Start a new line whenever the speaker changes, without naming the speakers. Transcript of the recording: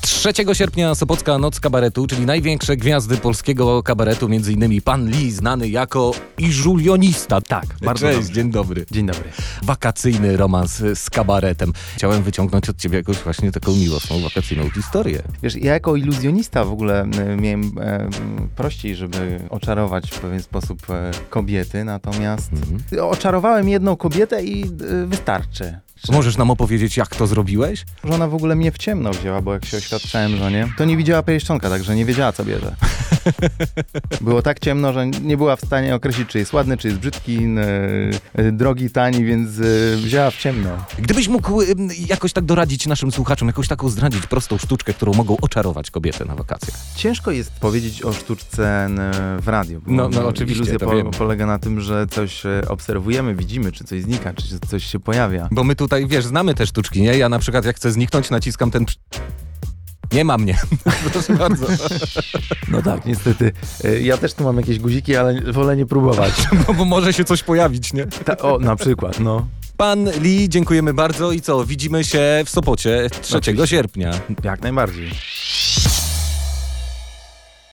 3 sierpnia Sopocka Noc Kabaretu, czyli największe gwiazdy polskiego kabaretu, m.in. pan Lee, znany jako iżulionista. Tak, bardzo
Cześć,
dobrze. dzień dobry.
Dzień dobry.
Wakacyjny romans z kabaretem. Chciałem wyciągnąć od ciebie jakąś właśnie taką miłosną wakacyjną historię.
Wiesz, ja jako iluzjonista w ogóle y, miałem e, prościej, żeby oczarować w pewien sposób e, kobiety, natomiast oczarowałem jedną kobietę i y, wystarczy.
Możesz nam opowiedzieć, jak to zrobiłeś?
Żona w ogóle mnie w ciemno wzięła, bo jak się oświadczałem żonie, to nie widziała pierścionka, także nie wiedziała, co bierze. Było tak ciemno, że nie była w stanie określić, czy jest ładny, czy jest brzydki, n- y, drogi, tani, więc y, wzięła w ciemno.
Gdybyś mógł ym, jakoś tak doradzić naszym słuchaczom, jakąś taką zdradzić prostą sztuczkę, którą mogą oczarować kobietę na wakacjach.
Ciężko jest powiedzieć o sztuczce n- w radiu. bo
No, no, oczywiście,
Iluzja
to wiemy.
polega na tym, że coś e, obserwujemy, widzimy, czy coś znika, czy się- coś się pojawia.
Bo my tutaj, wiesz, znamy te sztuczki, nie? Ja na przykład jak chcę zniknąć, naciskam ten... przy- Nie ma mnie. Proszę bardzo.
No tak, niestety. E, Ja też tu mam jakieś guziki, ale wolę nie próbować.
No bo może się coś pojawić, nie?
Ta, o, na przykład, no.
Pan Lee, dziękujemy bardzo i co? Widzimy się w Sopocie 3
Oczywiście.
sierpnia.
Jak najbardziej.